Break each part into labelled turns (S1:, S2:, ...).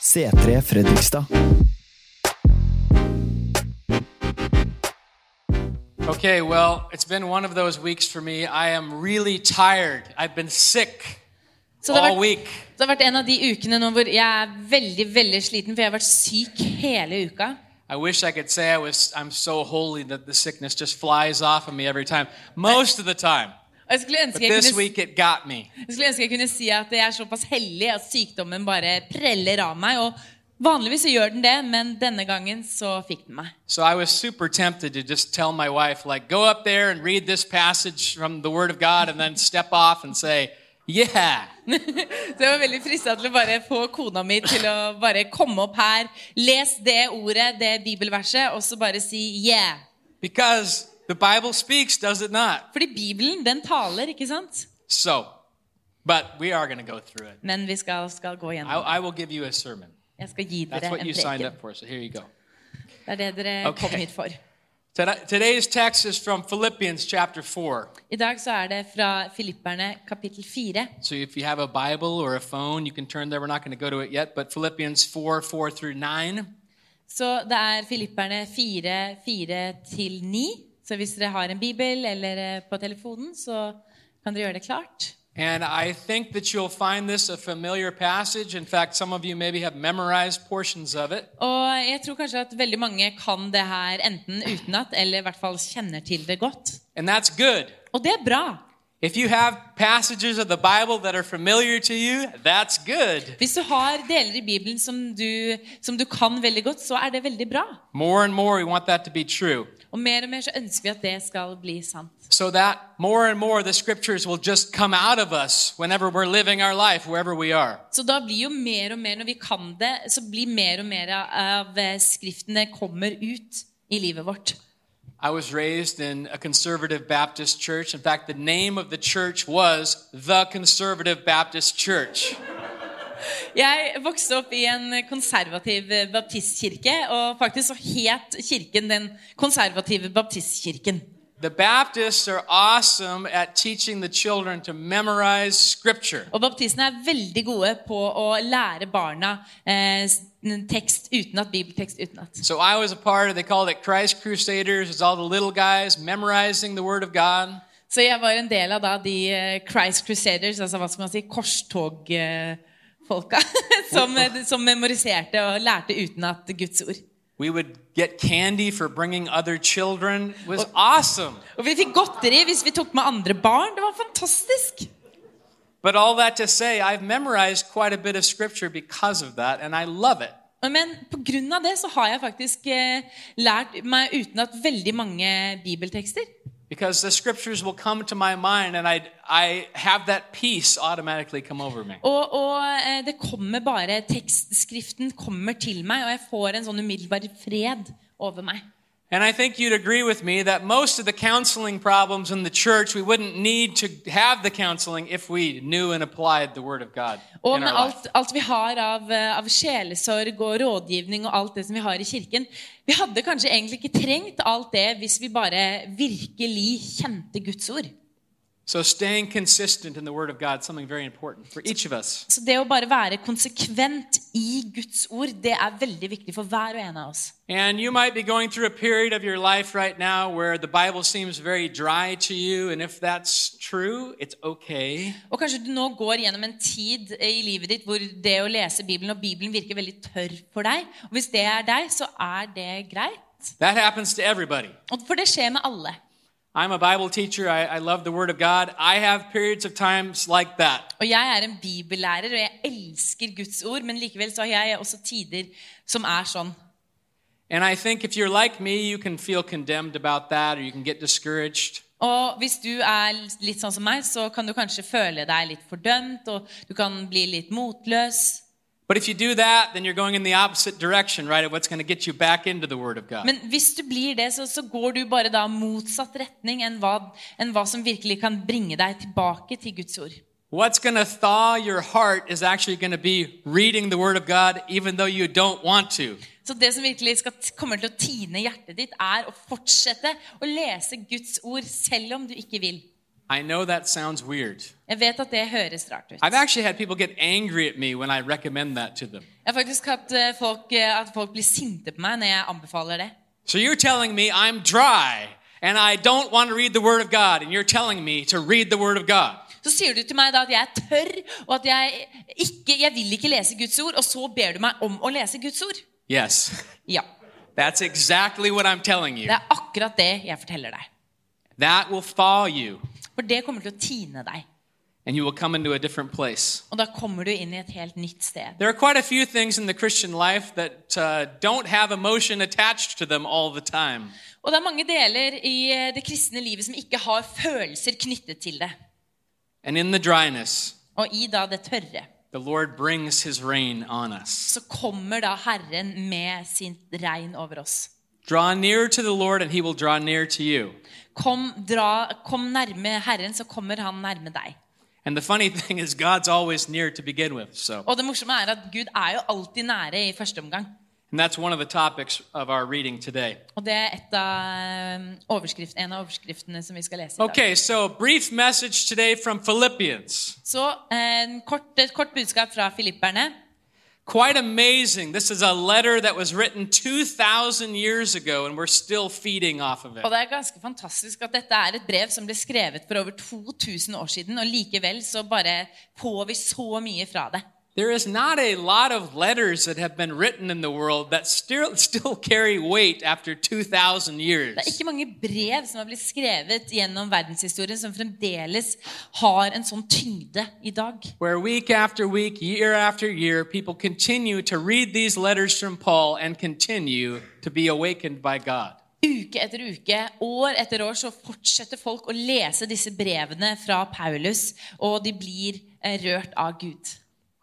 S1: C3 Fredrikstad.
S2: Okay, well, it's been one of those weeks for me. I am really tired. I've been sick
S3: Så det har,
S2: all
S3: vært,
S2: week.
S3: det har vært en av de ukene nå hvor jeg er veldig veldig sliten, for jeg har vært syk hele uka.
S2: I wish I could say I was I'm so holy that the sickness just flies off of me every time. Most of the time.
S3: Og jeg skulle,
S2: But
S3: ønske jeg,
S2: this
S3: kunne,
S2: week it got me.
S3: jeg skulle ønske jeg kunne si at jeg er såpass heldig at sykdommen bare preller av meg. Og vanligvis så gjør den det, men denne gangen så fikk den meg.
S2: So I was super tempted to just tell my wife like go up there and read this passage from the word of God and then step off and say, "Yeah."
S3: Så jeg var veldig frista til å bare få kona mi til å bare komme opp her, les det ordet, det bibelverset, og så bare si yeah.
S2: Because the Bible speaks, does it not?
S3: Fordi Bibelen, den taler, ikke sant?
S2: So, but we are going to go through it.
S3: Men vi skal, skal gå
S2: I,
S3: gjennom.
S2: I will give you a sermon.
S3: Jeg skal gi
S2: That's
S3: dere
S2: what
S3: en
S2: you signed
S3: preken.
S2: up for. So here you go.
S3: Det er det dere
S2: Ok.
S3: kom hit for.
S2: Today- Today's text is from Philippians chapter 4.
S3: I dag så er det fra Filipperne kapittel 4.
S2: So if you have a Bible or a phone, you can turn there. We're not going to go to it yet, but Philippians 4 4 through 9.
S3: Så det er Filipperne 4, 4 til 9. Så hvis dere har en bibel eller eh, på telefonen, så kan dere gjøre det klart.
S2: And I think that you'll find this a familiar passage. In fact, some of you maybe have memorized portions of it.
S3: Og jeg tror kanskje at veldig mange kan det her enten utenat eller i hvert fall kjenner til det godt.
S2: And that's good.
S3: Og det er bra.
S2: If you have passages of the Bible that are familiar to you, that's good.
S3: Hvis du har deler i Bibelen som du, som du kan veldig godt, så er det veldig bra.
S2: More and more, we want that to be true.
S3: Og mer og mer så ønsker vi at det skal bli sant.
S2: So that more and more the scriptures will just come out of us whenever we're living our life, wherever we are.
S3: Så da blir jo mer og mer, når vi kan det, så blir mer og mer av eh, skriftene kommer ut i livet vårt.
S2: I was raised in a conservative Baptist church. In fact, the name of the church was the Conservative Baptist Church.
S3: Jeg vokste opp i en konservativ eh, baptistkirke, og faktisk så het kirken den konservative baptistkirken.
S2: The Baptists are awesome at teaching the children to memorize scripture.
S3: Og baptistene er veldig gode på å lære barna eh, s- tekst utenat, bibeltekst utenat.
S2: So I was a part of, they called it Christ Crusaders. It's all the little guys memorizing the Word of God.
S3: Så jeg var en del av da de eh, Christ Crusaders, altså hva skal man si, korstogfolka, som, eh, som memoriserte og lærte utenat Guds ord.
S2: We would get candy for bringing other children. It was awesome.
S3: Og vi fikk godteri hvis vi tok med andre barn. Det var fantastisk.
S2: But all that to say, I've memorized quite a bit of scripture because of that, and I love it.
S3: Og- Men på grunn av det så har jeg faktisk eh, lært meg utenat veldig mange bibeltekster.
S2: because the scriptures will come to my mind and I, I have that peace automatically come over me.
S3: Og, og eh, det kommer bare tekstskriften kommer til meg, og jeg får en sånn umiddelbar fred over meg.
S2: And I think you'd agree with me that most of the counseling problems in the church, we wouldn't need to have the counseling if we knew and applied the Word of God.
S3: Og
S2: in
S3: med
S2: our life.
S3: alt, alt vi har av, eh, av sjelesorg og rådgivning og alt det som vi har i kirken Vi hadde kanskje egentlig ikke trengt alt det hvis vi bare virkelig kjente Guds ord.
S2: So staying consistent in the Word of God is something very important for each of us.
S3: Så det å bare være konsekvent i Guds ord, det er veldig viktig for hver og en av oss.
S2: And you might be going through a period of your life right now where the Bible seems very dry to you, and if that's true, it's okay.
S3: Og kanskje du nå går gjennom en tid eh, i livet ditt hvor det å lese Bibelen og Bibelen virker veldig tørr for deg. Og hvis det er deg, så er det greit.
S2: That happens to everybody.
S3: Og For det skjer med alle.
S2: I'm a Bible teacher. I, I love the Word of God. I have periods of times like that.
S3: Og jeg er en bibellærer, og jeg elsker Guds ord, men likevel så har jeg også tider som er sånn.
S2: And I think if you're like me, you can feel condemned about that or you can get discouraged.
S3: Og hvis du er litt sånn som meg, så kan du kanskje føle deg litt fordømt, og du kan bli litt motløs.
S2: But if you do that, then you're going in the opposite direction, right? Of what's going to get you back into the Word of God.
S3: Men hvis du blir det, så, så går du bare da motsatt retning enn hva, enn hva som virkelig kan bringe deg tilbake til Guds ord.
S2: What's going to thaw your heart is actually going to be reading the Word of God, even though you don't want to.
S3: Så det som virkelig skal, kommer til å tine hjertet ditt, er å fortsette å lese Guds ord selv om du ikke vil.
S2: I know that sounds weird.
S3: Jeg vet at det høres rart ut.
S2: I've actually had people get angry at me when I recommend that to them.
S3: Jeg har faktisk hatt eh, folk, eh, at folk blir sinte på meg når jeg anbefaler det.
S2: So you're telling me I'm dry and I don't want to read the Word of God, and you're telling me to read the Word of God.
S3: Så sier du til meg da at jeg er tørr, og at jeg ikke jeg vil ikke lese Guds ord, og så ber du meg om å lese Guds ord.
S2: Yes,
S3: Ja.
S2: that's exactly what I'm telling you.
S3: Det er akkurat det jeg forteller deg.
S2: That will thaw you,
S3: For det kommer til å tine deg.
S2: and you will come into a different place.
S3: Og da kommer du inn i et helt nytt sted.
S2: There are quite a few things in the Christian life that uh, don't have emotion attached to them all the time.
S3: Og det er mange deler i eh, det kristne livet som ikke har følelser knyttet til det.
S2: And in the dryness,
S3: Og i da det tørre
S2: the Lord brings His rain on us.
S3: så kommer da Herren med sin regn over oss.
S2: Draw near to the Lord, and He will draw near to you.
S3: Kom, dra, kom nærme Herren, så kommer han nærme deg.
S2: And the funny thing is, God's always near to begin with. So,
S3: Og det morsomme er at Gud er jo alltid nære i første omgang.
S2: and that's one of the topics of our reading today.
S3: Og det er et av um, overskrift, en av overskriftene som vi skal lese i dag.
S2: Okay, so brief message today from Philippians.
S3: Så eh, en kort, et kort budskap fra filipperne.
S2: Quite amazing. This is a letter that was written 2,000 years ago, and we're still feeding off of it.
S3: Og det er ganske fantastisk at dette er et brev som ble skrevet for over 2000 år siden, og likevel så bare får vi så mye fra det.
S2: There is not a lot of letters that have been written in the world that still, still carry weight after 2,000
S3: Det er
S2: years.
S3: ikke mange brev som har blitt skrevet gjennom verdenshistorien som fremdeles har en sånn tyngde i dag.
S2: Where week after week, year after year, people continue to read these letters from Paul and continue to be awakened by God.
S3: Uke etter uke, år etter år, så fortsetter folk å lese disse brevene fra Paulus, og de blir eh, rørt av Gud.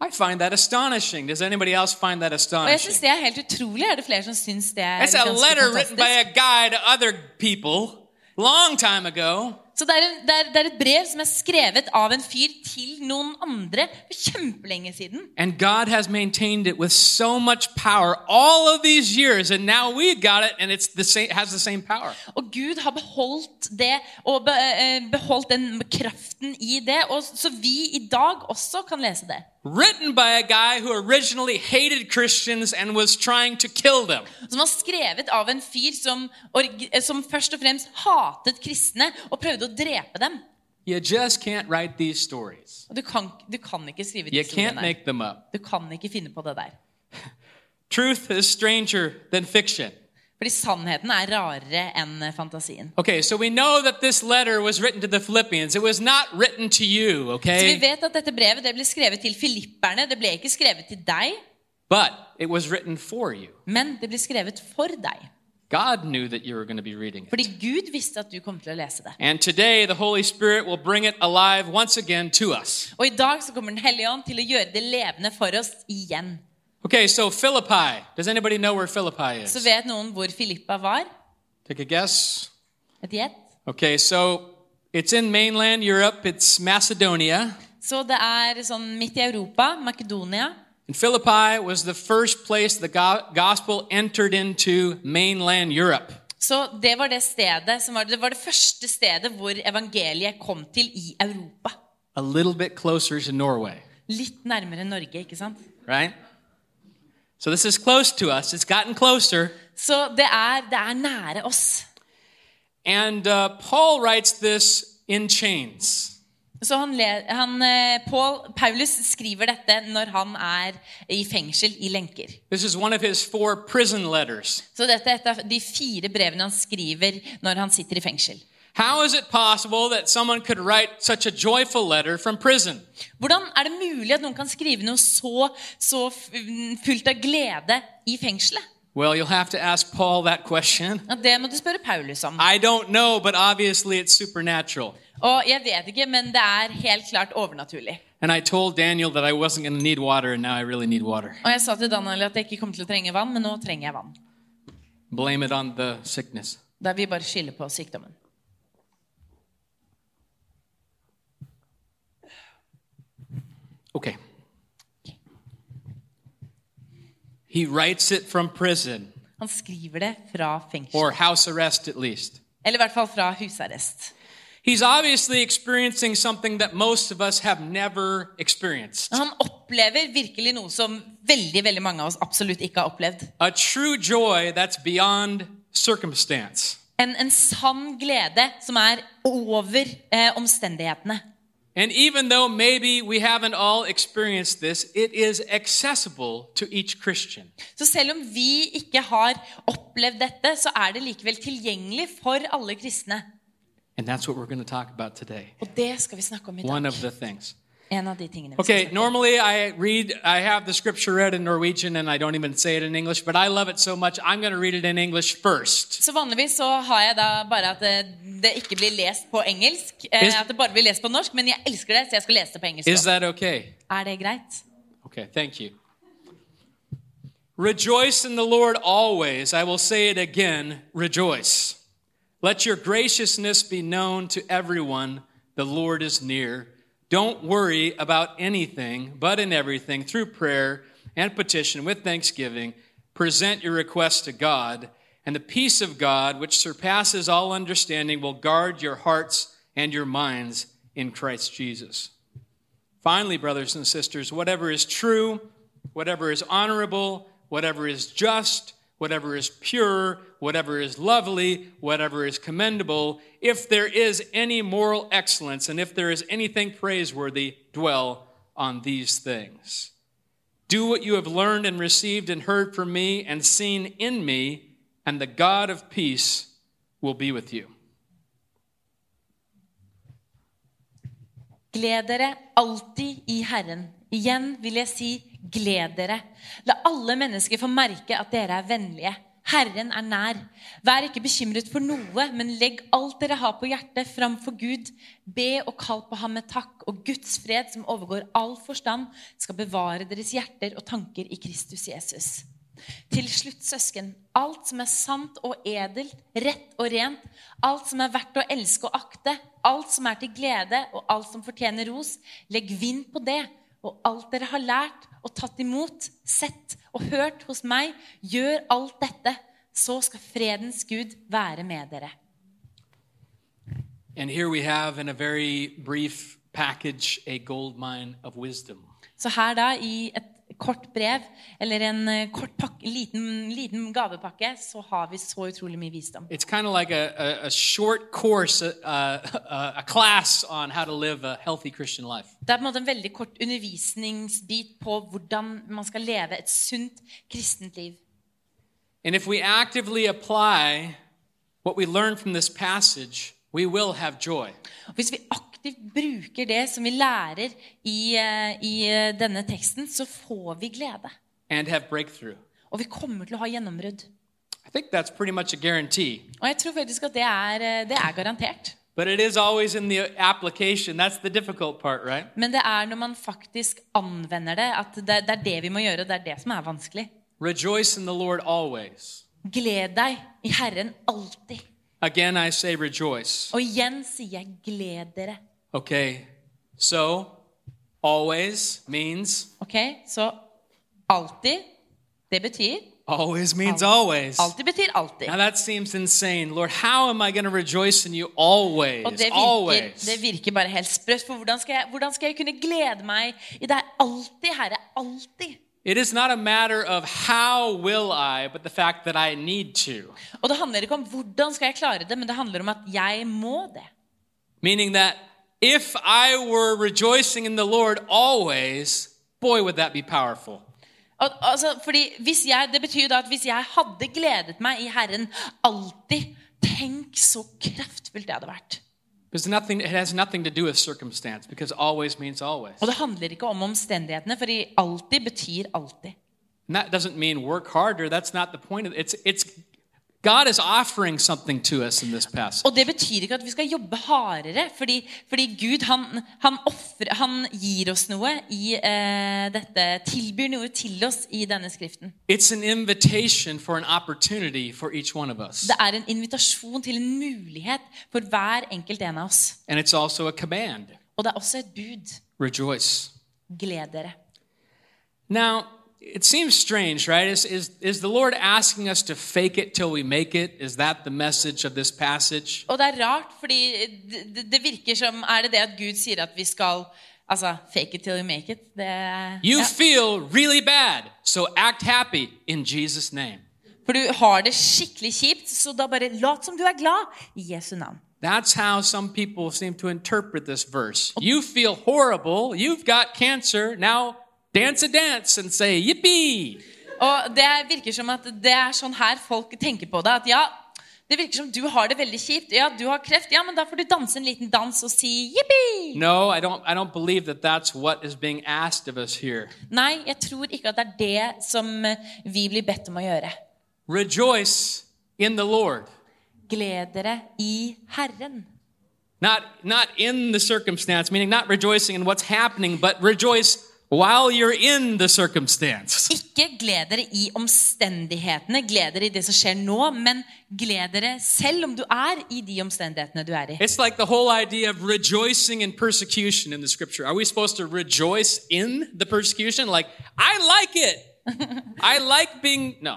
S2: I find that astonishing. Does anybody else find that
S3: Og jeg syns
S2: astonishing?
S3: det er helt utrolig. Er det flere som syns det er
S2: It's a
S3: ganske
S2: letter written by
S3: fantastisk?
S2: a guy to other people long time ago.
S3: Så det er, en, det, er, det er et brev som er skrevet av en fyr til noen andre for kjempelenge siden.
S2: And God has maintained it with so much power all of these years, and now we got it, and it's the same has the same power.
S3: Og Gud har beholdt det, og be, eh, beholdt den kraften i det, og så vi i dag også kan lese det.
S2: Written by a guy who originally hated Christians and was trying to kill them.
S3: Som var skrevet av en fyr som, org- eh, som først og fremst hatet kristne og prøvde å drepe dem.
S2: You just can't write these stories.
S3: Og du kan, du kan ikke skrive
S2: You
S3: de historiene
S2: can't
S3: der.
S2: make them up.
S3: Du kan ikke finne på det der.
S2: Truth is stranger than fiction.
S3: Fordi sannheten er rarere enn eh, fantasien.
S2: Okay, so we know that this letter was written to the Philippians. It was not written to you,
S3: Så vi
S2: okay?
S3: vet at dette brevet det ble skrevet til filipperne. Det ble ikke skrevet til deg,
S2: But it was written for you.
S3: men det ble skrevet for deg.
S2: God knew that you were going to be reading it.
S3: Fordi Gud visste at du kom til å lese det.
S2: And today, the Holy Spirit will bring it alive once again to us.
S3: Og i dag så kommer Den hellige ånd til å gjøre det levende for oss igjen.
S2: Okay, so Philippi. Does anybody know where Philippi
S3: Så
S2: is?
S3: vet noen hvor Filippa var?
S2: Take a guess.
S3: Et gjett?
S2: Okay, so it's in mainland Europe, it's Macedonia.
S3: Så det er sånn midt i Europa, Makedonia.
S2: And Philippi was the first place the go- gospel entered into mainland Europe.
S3: Så det var det stedet som var det var det første stedet hvor evangeliet kom til i Europa.
S2: A little bit closer to Norway,
S3: Litt nærmere Norge, ikke sant?
S2: right? So this is close to us, it's gotten closer.
S3: Så det er, det er nære oss.
S2: And uh, Paul writes this in chains.
S3: Så han, le- han, eh, Paul, Paulus skriver dette når han er i fengsel, i lenker.
S2: This is one of his four prison letters.
S3: Så dette er et av de fire brevene han skriver når han sitter i fengsel.
S2: How is it possible that someone could write such a joyful letter from prison?
S3: Hvordan er det mulig at noen kan skrive noe så, så f- fullt av glede i fengselet?
S2: Well, you'll have to ask Paul that question.
S3: Ja, det må du spørre Paulus om.
S2: I don't know, but obviously it's supernatural.
S3: Og jeg vet ikke, men det er helt klart overnaturlig.
S2: And I told Daniel that I wasn't going to need water, and now I really need water.
S3: Og jeg sa til Daniel at jeg ikke kom til å trenge vann, men nå trenger jeg vann.
S2: Blame it on the sickness.
S3: Da vi bare skylder på sykdommen.
S2: Okay. He writes it from prison,
S3: Han skriver det fra fengsel.
S2: or house arrest at least.
S3: Eller i hvert fall fra husarrest.
S2: He's obviously experiencing something that most of us have never experienced
S3: Og Han opplever virkelig noe som veldig veldig mange av oss absolutt ikke har opplevd.
S2: a true joy that's beyond circumstance.
S3: En, en sann glede som er over eh, omstendighetene.
S2: And even though maybe we haven't all experienced this, it is accessible to each Christian.
S3: Så selv om vi ikke har opplevd dette, så er det likevel tilgjengelig for alle kristne.
S2: And that's what we're going to talk about today.
S3: Og det skal vi snakke om i
S2: One
S3: dag.
S2: of the things.
S3: En av de tingene vi
S2: Okay,
S3: skal snakke om.
S2: normally I read, I have the scripture read in Norwegian and I don't even say it in English, but I love it so much, I'm going to read it in English first.
S3: Så vanligvis så har jeg da bare at eh, det ikke blir lest på engelsk. eh,
S2: Is-
S3: At det bare blir lest på norsk, men jeg elsker det, så jeg skal lese det på engelsk.
S2: Is
S3: også.
S2: that okay?
S3: Er det greit?
S2: Okay, thank you. Rejoice in the Lord always. I will say it again rejoice. Let your graciousness be known to everyone. The Lord is near. Don't worry about anything, but in everything, through prayer and petition with thanksgiving, present your requests to God. And the peace of God, which surpasses all understanding, will guard your hearts and your minds in Christ Jesus. Finally, brothers and sisters, whatever is true, whatever is honorable, whatever is just, whatever is pure, whatever is lovely, whatever is commendable, if there is any moral excellence and if there is anything praiseworthy, dwell on these things. Do what you have learned and received and heard from me and seen in me, and the God of peace will be with you.
S3: Gled dere alltid i Herren. Igjen vil jeg si gled dere. La alle mennesker få merke at dere er vennlige. Herren er nær. Vær ikke bekymret for noe, men legg alt dere har på hjertet, framfor Gud. Be og kall på ham med takk, og Guds fred, som overgår all forstand, skal bevare deres hjerter og tanker i Kristus Jesus. Til slutt, søsken, alt som er sant og edelt, rett og rent, alt som er verdt å elske og akte, alt som er til glede og alt som fortjener ros, legg vind på det, og alt dere har lært og tatt imot, sett og hørt hos meg, gjør alt dette, så skal fredens Gud være med dere.
S2: And here we have, in a very brief package, a gold mine of wisdom.
S3: Så her da, i et kort brev, eller en eh, kort pakke, liten, liten gavepakke, så har vi så utrolig mye visdom.
S2: It's kind of like a, a, a short course, a, a, a class on how to live a healthy Christian life.
S3: Det er på en måte en veldig kort undervisningsbit på hvordan man skal leve et sunt kristent liv.
S2: And if we actively apply what we learn from this passage, we will have joy.
S3: Og hvis vi aktivt bruker det som vi lærer i, eh, i eh, denne teksten, så får vi glede.
S2: and have breakthrough.
S3: Og vi kommer til å ha gjennombrudd.
S2: I think that's pretty much a guarantee.
S3: Og jeg tror faktisk at det er, eh, det er garantert.
S2: But it is always in the application. That's the difficult part, right?
S3: Men det er når man faktisk anvender det, at det, det er det vi må gjøre, og det er det som er vanskelig.
S2: Rejoice in the Lord always.
S3: Gled deg i Herren alltid.
S2: Again, I say rejoice.
S3: Og igjen sier jeg gled dere.
S2: Okay, so always means
S3: Ok, Så alltid, det betyr
S2: always means always.
S3: Alltid betyr alltid.
S2: Now that seems insane. Lord, how am I going to rejoice in you always?
S3: Og det virker,
S2: always.
S3: det virker bare helt sprøtt. For hvordan skal, jeg, hvordan skal jeg kunne glede meg i deg alltid, Herre? Alltid.
S2: It is not a matter of how will I, but the fact that I need to.
S3: Og det handler ikke om hvordan skal jeg klare det, men det handler om at jeg må det.
S2: Meaning that if I were rejoicing in the Lord always, boy, would that be powerful.
S3: Al- altså, fordi hvis jeg, det betyr da at hvis jeg hadde gledet meg i Herren alltid, tenk så kraftfullt det hadde vært.
S2: Because nothing, it has nothing to do with circumstance, because always means always.
S3: Og det handler ikke om omstendighetene, for alltid betyr alltid.
S2: And that doesn't mean work harder. That's not the point. Of, it's, it's, God is offering something to us in this passage.
S3: Og det betyr ikke at vi skal jobbe hardere, fordi, fordi Gud han, han, offrer- han gir oss noe i eh, dette, tilbyr noe til oss i denne skriften.
S2: It's an invitation for an opportunity for each one of us.
S3: Det er en invitasjon til en mulighet for hver enkelt en av oss.
S2: And it's also a command
S3: Og det er også et bud.
S2: rejoice.
S3: Gled dere.
S2: Now, it seems strange, right? Is, is, is the Lord asking us to fake it till we make it? Is that the message of this passage?
S3: Og det er rart, fordi det, det- det virker som Er det det at Gud sier at vi skal altså, fake it till you make it? Det,
S2: You
S3: ja.
S2: feel really bad, so act happy in Jesus' name.
S3: For du har det skikkelig kjipt, så da bare lat som du er glad i Jesu navn.
S2: That's how some people seem to interpret this verse. You feel horrible, you've got cancer, now dance a dance and say, Yippee!
S3: Og det virker som at det er sånn her folk tenker på det. At ja, det virker som du har det veldig kjipt. Ja, du har kreft. Ja, men da får du danse en liten dans og si jippi.
S2: No, I don't, I don't believe that that's what is being asked of us here.
S3: Nei, jeg tror ikke at det er det som eh, vi blir bedt om å gjøre.
S2: Rejoice in the Lord.
S3: Gled dere i Herren.
S2: Not, not in the circumstance, meaning not rejoicing in what's happening, but rejoice while you're in the circumstance.
S3: Ikke gled dere i omstendighetene, gled dere i det som skjer nå, men gled dere selv om du er i de omstendighetene du er i.
S2: It's like the whole idea of rejoicing in persecution in the scripture. Are we supposed to rejoice in the persecution? Like, I like it. I like being. No.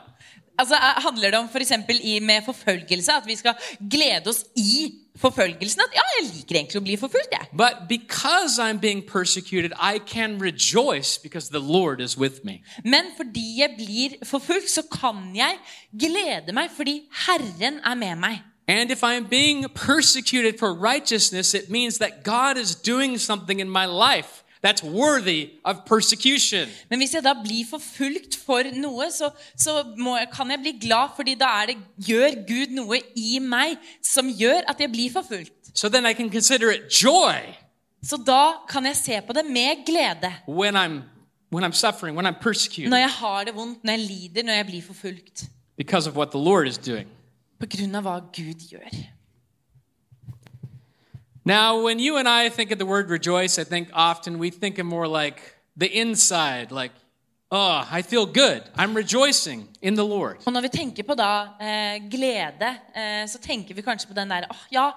S3: Altså, eh, Handler det om for eksempel i med forfølgelse at vi skal glede oss i forfølgelsen? At ja, jeg liker egentlig å bli forfulgt, jeg.
S2: But because I'm being persecuted, I can rejoice because the Lord is with me.
S3: Men fordi jeg blir forfulgt, så kan jeg glede meg fordi Herren er med meg.
S2: And if I'm being persecuted for righteousness, it means that God is doing something in my life that's worthy of persecution.
S3: Men hvis jeg da blir forfulgt for noe, så, så må, jeg- kan jeg bli glad, fordi da er det, gjør Gud noe i meg som gjør at jeg blir forfulgt.
S2: So then I can consider it joy
S3: Så da kan jeg se på det med glede.
S2: when I'm when I'm suffering, when I'm persecuted
S3: Når jeg har det vondt, når jeg lider, når jeg blir forfulgt.
S2: because of what the Lord is doing.
S3: På grunn av hva Gud gjør.
S2: Now, when you and I think of the word rejoice, I think often we think of more like the inside, like, oh, I feel good. I'm rejoicing in the Lord.
S3: Og når vi tenker på da eh, glede, eh, så tenker vi kanskje på den der åh ja,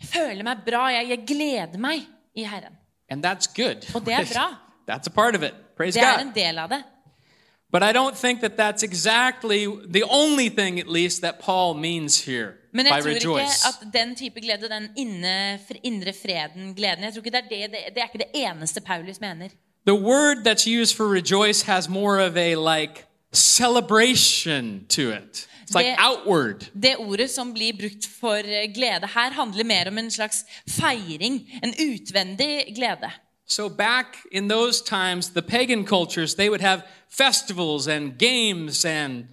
S3: jeg føler meg bra, jeg, jeg gleder meg i Herren.
S2: And that's good.
S3: Og det er bra.
S2: That's a part of it. Praise
S3: Det er
S2: God.
S3: en del av det.
S2: But I don't think that that's exactly the only thing, at least, that Paul means here
S3: Men
S2: by
S3: jeg tror ikke
S2: rejoice.
S3: at den type glede, den inne, fr- indre freden, gleden jeg tror ikke det, er det, det, det er ikke det eneste Paulus mener.
S2: The word that's used for rejoice has more of a like celebration to it. It's like
S3: Det-
S2: outward.
S3: Det ordet som blir brukt for eh, glede her, handler mer om en slags feiring. En utvendig glede.
S2: So back in those times, the pagan cultures, they would have festivals and games and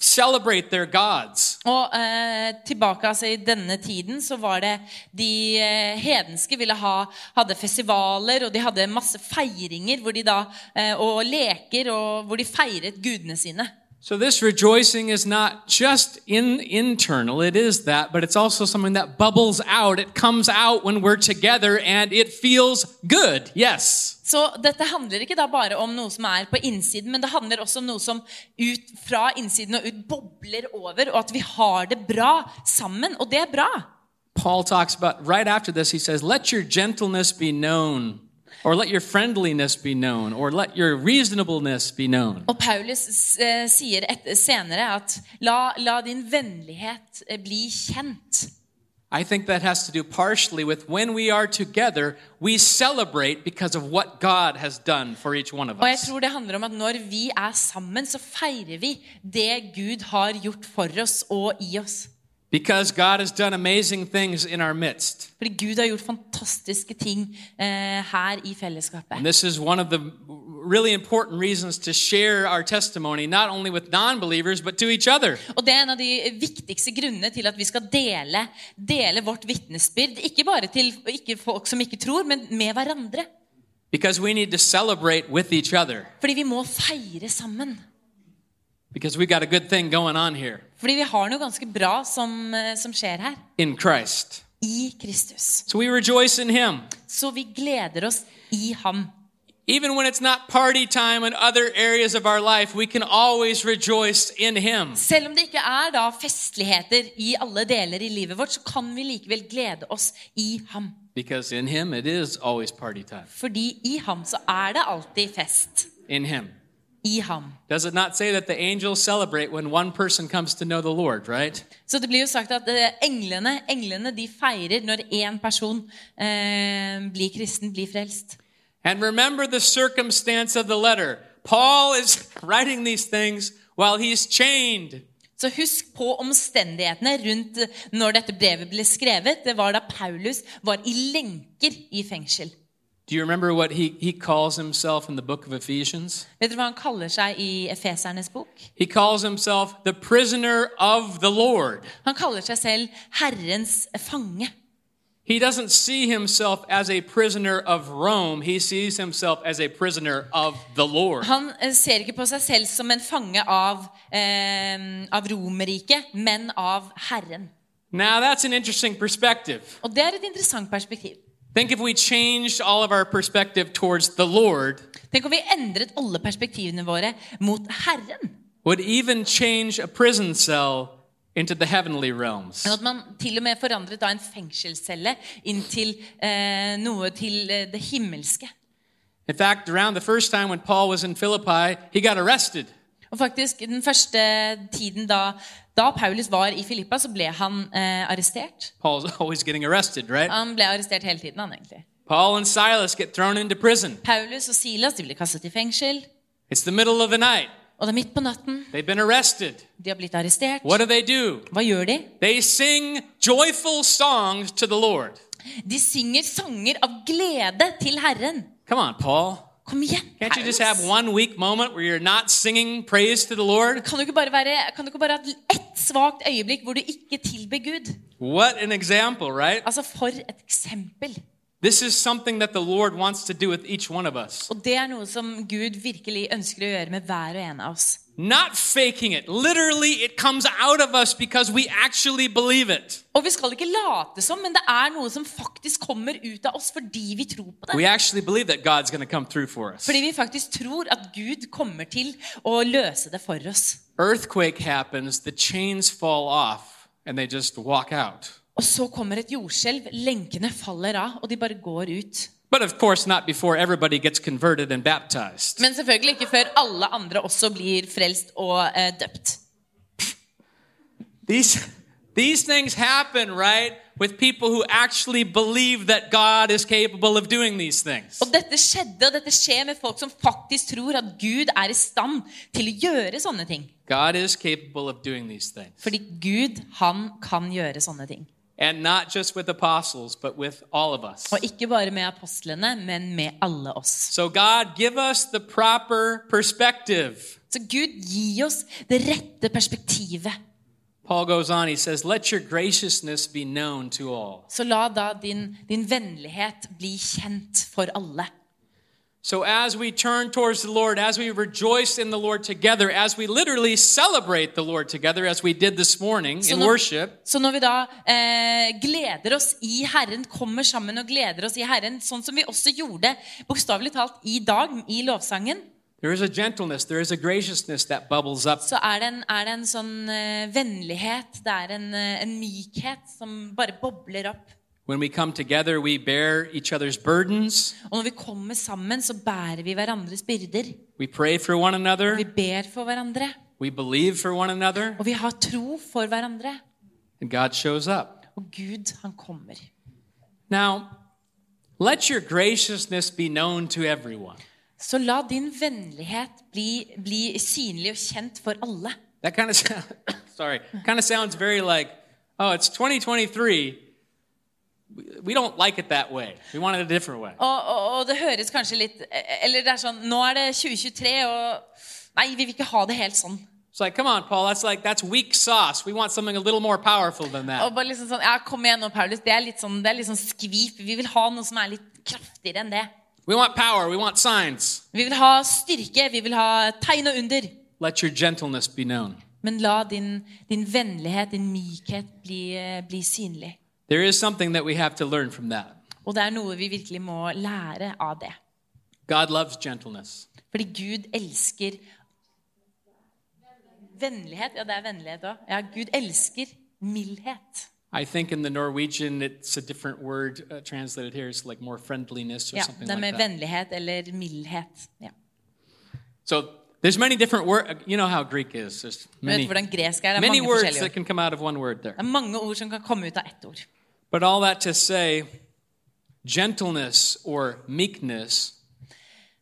S2: celebrate their gods.
S3: Og eh, tilbake altså, i denne tiden så var det de eh, hedenske ville ha, hadde festivaler, og de hadde masse feiringer hvor de da, eh, og leker og hvor de feiret gudene sine.
S2: So this rejoicing is not just in internal, it is that, but it's also something that bubbles out. It comes out when we're together and it feels good. Yes.
S3: Så dette handler ikke da bare om noe som er på innsiden, men det handler også om noe som ut fra innsiden og ut bobler over, og at vi har det bra sammen. Og det er bra.
S2: Paul talks about right after this, he says, Let your gentleness be known, or let your friendliness be known, or let your reasonableness be known.
S3: Og Paulus eh, sier et, senere at la, la din vennlighet eh, bli kjent.
S2: I think that has to do partially with when we are together, we celebrate because of what God has done for each one of
S3: Og jeg
S2: us.
S3: tror det handler om at når vi er sammen, så feirer vi det Gud har gjort for oss og i oss.
S2: Because God has done amazing things in our midst.
S3: Fordi Gud har gjort fantastiske ting eh, her i
S2: And
S3: fellesskapet.
S2: this is one of the really important reasons to share our testimony, not only with non believers, but to each other.
S3: Og det er en av de viktigste grunnene til at vi skal dele, dele vårt vitnesbyrd. Ikke bare til ikke folk som ikke tror, men med hverandre.
S2: Because we need to celebrate with each other.
S3: Fordi vi må feire sammen.
S2: Because we got a good thing going on here
S3: Fordi vi har noe ganske bra som, eh, som skjer her.
S2: in Christ.
S3: I Kristus.
S2: So we rejoice in Him.
S3: Så vi gleder oss i Ham.
S2: Even when it's not party time in other areas of our life, we can always rejoice in Him.
S3: Selv om det ikke er da festligheter i alle deler i livet vårt, så kan vi likevel glede oss i ham.
S2: Because in Him, it is always party time.
S3: Fordi i ham så er det alltid fest.
S2: In Him.
S3: i ham.
S2: Does it not say that the angels celebrate when one person comes to know the Lord, right?
S3: Så det blir jo sagt at eh, englene, englene de feirer når én person eh, blir kristen, blir frelst.
S2: And remember the circumstance of the letter. Paul is writing these things while he's chained.
S3: Så husk på omstendighetene rundt eh, når dette brevet ble skrevet. Det var da Paulus var i lenker i fengsel.
S2: Do you remember what he, he calls himself in the book of Ephesians?
S3: Vet dere hva han kaller seg i Efesernes bok?
S2: He calls himself the prisoner of the Lord.
S3: Han kaller seg selv Herrens fange.
S2: He doesn't see himself as a prisoner of Rome, he sees himself as a prisoner of the Lord.
S3: Han eh, ser ikke på seg selv som en fange av, eh, av Romerriket, men av Herren.
S2: Now, that's an interesting perspective.
S3: Og det er et interessant perspektiv.
S2: Think if we changed all of our perspective towards the Lord,
S3: Tenk om vi endret alle perspektivene våre mot Herren.
S2: would even change a prison cell into the heavenly realms.
S3: Men Sånn at man til og med forandret da en fengselscelle inn til eh, noe til eh, det himmelske.
S2: In fact, around the first time when Paul was in Philippi, he got arrested.
S3: Og faktisk, den første tiden da, da Paulus var i Filippa, så ble han eh, arrestert.
S2: Paul's always getting arrested, right?
S3: Han ble arrestert hele tiden, han egentlig.
S2: Paul and Silas get thrown into prison.
S3: Paulus og Silas de ble kastet i fengsel.
S2: It's the middle of the night.
S3: Og det er midt på natten.
S2: They've been arrested.
S3: De har blitt arrestert.
S2: What do they do?
S3: Hva gjør de?
S2: They sing joyful songs to the Lord.
S3: De synger sanger av glede til Herren.
S2: Come on, Paul.
S3: Kom igjen,
S2: Can't you just
S3: Paulus.
S2: have one weak moment where you're not singing praise to the Lord?
S3: Kan du ikke bare, være, kan du ikke bare ha ett svakt øyeblikk hvor du ikke tilber Gud?
S2: What an example, right?
S3: Altså, for et eksempel.
S2: This is something that the Lord wants to do with each one of us.
S3: Og det er noe som Gud virkelig ønsker å gjøre med hver og en av oss.
S2: Not faking it. Literally, it comes out of us because we actually believe it.
S3: Og vi skal ikke late som, men det er noe som faktisk kommer ut av oss fordi vi tror på det.
S2: We actually believe that God's going to come through for us.
S3: Fordi vi faktisk tror at Gud kommer til å løse det for oss.
S2: Earthquake happens, the chains fall off, and they just walk out.
S3: Og så kommer et jordskjelv, lenkene faller av, og de bare går ut.
S2: But of course, not before everybody gets converted and baptized.
S3: Men selvfølgelig ikke før alle andre også blir frelst og eh, døpt.
S2: These, these things happen, right, with people who actually believe that God is capable of doing these things.
S3: Og dette skjedde, og dette skjer med folk som faktisk tror at Gud er i stand til å gjøre sånne ting.
S2: God is capable of doing these things.
S3: Fordi Gud, han kan gjøre sånne ting.
S2: And not just with apostles, but with all of us.
S3: Og ikke bare med apostlene, men med alle oss.
S2: So, God, give us the proper perspective.
S3: Så Gud, gi oss det rette perspektivet.
S2: Paul goes on, he says, Let your graciousness be known to all.
S3: Så la da din, din vennlighet bli kjent for alle.
S2: So, as we turn towards the Lord, as we rejoice in the Lord together, as we literally celebrate the Lord together, as we did this morning
S3: So
S2: in
S3: no-
S2: worship,
S3: Så når vi da eh, gleder oss i Herren, kommer sammen og gleder oss i Herren, sånn som vi også gjorde bokstavelig talt i dag i lovsangen,
S2: there is a gentleness, there is a graciousness that bubbles up.
S3: så er det en, er det en sånn eh, vennlighet, det er en, eh, en mykhet som bare bobler opp.
S2: When we come together, we bear each other's burdens,
S3: Og når vi kommer sammen, så bærer vi hverandres byrder.
S2: we pray for one another,
S3: Vi ber for hverandre,
S2: we believe for one another,
S3: og vi har tro for hverandre.
S2: and God shows up.
S3: Og Gud, han kommer.
S2: Now, let your graciousness be known to everyone.
S3: Så la din vennlighet bli, bli synlig og kjent for alle.
S2: That kind of sound, sorry, kind of sounds very like, oh, it's 2023. We- We don't like it that way. We want it a different way.
S3: Og, og, og det høres kanskje litt Eller det er sånn Nå er det 2023, og Nei, vi vil ikke ha det helt sånn.
S2: It's like, come on, Paul. That's like that's weak sauce. We want something a little more powerful than
S3: Og
S2: that.
S3: bare liksom sånn Ja, kom igjen nå, Paulus. Det er litt sånn, det er litt sånn skvip. Vi vil ha noe som er litt kraftigere enn det.
S2: We want power. We want signs.
S3: Vi vil ha styrke. Vi vil ha tegn og under.
S2: Let your gentleness be known.
S3: Men la din, din vennlighet, din mykhet, bli, bli synlig.
S2: There is something that we have to learn from that.
S3: Og det er noe vi virkelig må lære av det.
S2: God loves gentleness.
S3: Fordi Gud elsker Vennlighet. Ja, det er vennlighet òg. Ja, Gud elsker mildhet.
S2: I think in the Norwegian, it's a different word uh, translated here. It's like more friendliness or
S3: Ja,
S2: something
S3: det er
S2: like
S3: med
S2: that.
S3: vennlighet eller mildhet. Ja.
S2: So There's many different words. You know how Greek is. There's
S3: Du vet
S2: many,
S3: hvordan gresk er. Det er
S2: many
S3: mange
S2: words
S3: forskjellige
S2: that
S3: ord.
S2: can come out of one word there.
S3: Det er mange ord som kan komme ut av ett ord.
S2: But all that to say, gentleness or meekness